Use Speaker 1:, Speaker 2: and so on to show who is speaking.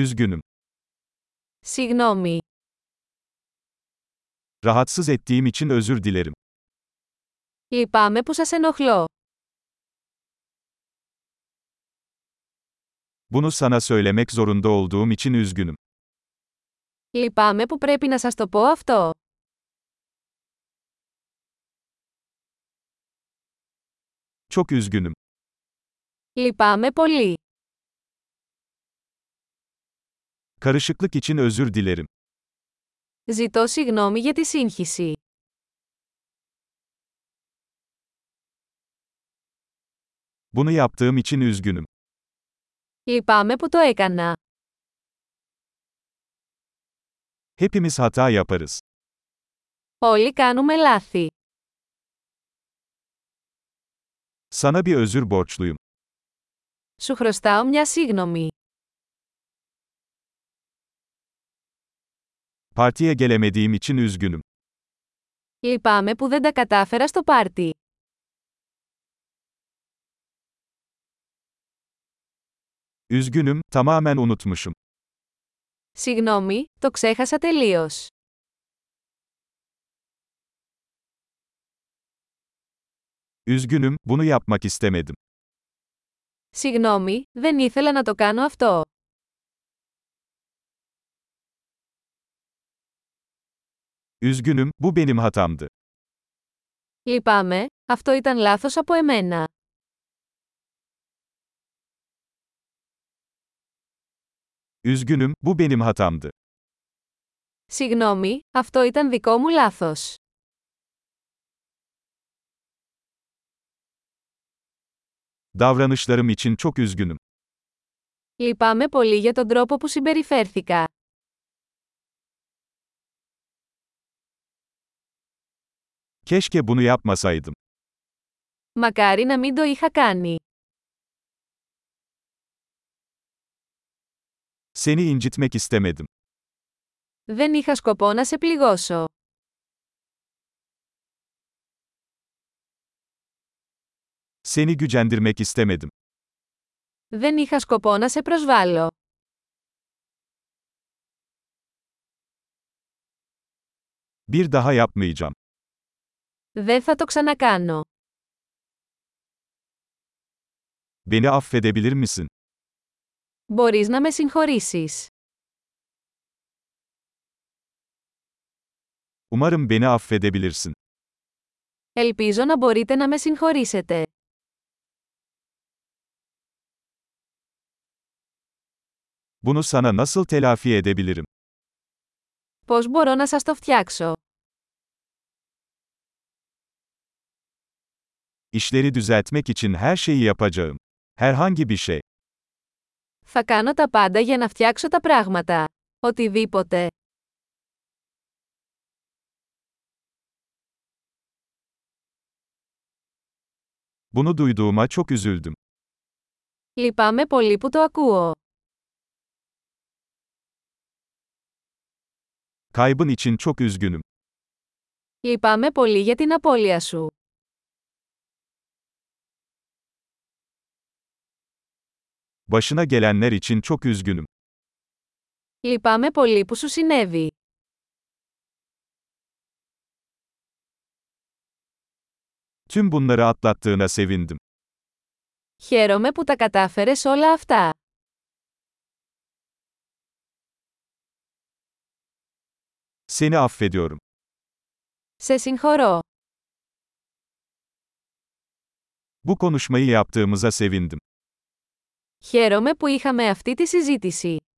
Speaker 1: Üzgünüm.
Speaker 2: Συγγνώμη.
Speaker 1: Rahatsız ettiğim için özür dilerim.
Speaker 2: Λυπάμαι που σας ενοχλώ.
Speaker 1: Bunu sana söylemek zorunda olduğum için üzgünüm.
Speaker 2: Λυπάμαι που πρέπει να σας το πω αυτό.
Speaker 1: Çok üzgünüm.
Speaker 2: Λυπάμαι πολύ.
Speaker 1: Karışıklık için özür dilerim.
Speaker 2: Ζητώ συγγνώμη για τη σύγχυση.
Speaker 1: Bunu yaptığım için üzgünüm.
Speaker 2: Λυπάμαι που το έκανα.
Speaker 1: Hepimiz hata yaparız.
Speaker 2: Όλοι κάνουμε λάθη.
Speaker 1: Sana bir özür borçluyum.
Speaker 2: Σου χρωστάω μια σύγγνωμη.
Speaker 1: Partiye gelemediğim için üzgünüm.
Speaker 2: Λυπάμαι που δεν τα κατάφερα στο πάρτι.
Speaker 1: Üzgünüm, tamamen unutmuşum.
Speaker 2: Συγγνώμη, το ξέχασα τελείως.
Speaker 1: Üzgünüm, bunu yapmak istemedim.
Speaker 2: Συγγνώμη, δεν ήθελα να το κάνω αυτό.
Speaker 1: Üzgünüm, bu benim hatamdı.
Speaker 2: Λυπάμαι, αυτό ήταν λάθος από εμένα.
Speaker 1: Üzgünüm, bu benim hatamdı.
Speaker 2: Συγγνώμη, αυτό ήταν δικό μου λάθος.
Speaker 1: Davranışlarım için çok üzgünüm.
Speaker 2: Λυπάμαι πολύ για τον τρόπο που συμπεριφέρθηκα.
Speaker 1: Keşke bunu yapmasaydım.
Speaker 2: Μακάρι να μην το είχα κάνει.
Speaker 1: Seni incitmek istemedim.
Speaker 2: Δεν είχα σκοπό να σε πληγώσω.
Speaker 1: Seni gücendirmek istemedim.
Speaker 2: Δεν είχα σκοπό να σε προσβάλλω.
Speaker 1: Bir daha yapmayacağım.
Speaker 2: Δεν θα το ξανακάνω.
Speaker 1: Beni affedebilir misin?
Speaker 2: Μπορείς να με συγχωρήσεις.
Speaker 1: Umarım beni affedebilirsin.
Speaker 2: Ελπίζω να μπορείτε να με συγχωρήσετε.
Speaker 1: Bunu sana nasıl telafi edebilirim?
Speaker 2: Πώς μπορώ να σας το φτιάξω.
Speaker 1: İşleri düzeltmek için her şeyi yapacağım. Herhangi bir şey.
Speaker 2: Θα κάνω τα πάντα για να φτιάξω τα πράγματα. Οτιδήποτε.
Speaker 1: Bunu duyduğuma çok üzüldüm.
Speaker 2: Λυπάμαι πολύ που το ακούω.
Speaker 1: Kaybın için çok üzgünüm.
Speaker 2: Λυπάμαι πολύ για την απώλεια σου.
Speaker 1: Başına gelenler için çok üzgünüm.
Speaker 2: Λυπάμαι πολύ που σου συνέβη.
Speaker 1: Tüm bunları atlattığına sevindim.
Speaker 2: Χαίρομαι που τα κατάφερες όλα αυτά.
Speaker 1: Seni affediyorum.
Speaker 2: Σε συγχωρώ.
Speaker 1: Bu konuşmayı yaptığımıza sevindim.
Speaker 2: Χαίρομαι που είχαμε αυτή τη συζήτηση.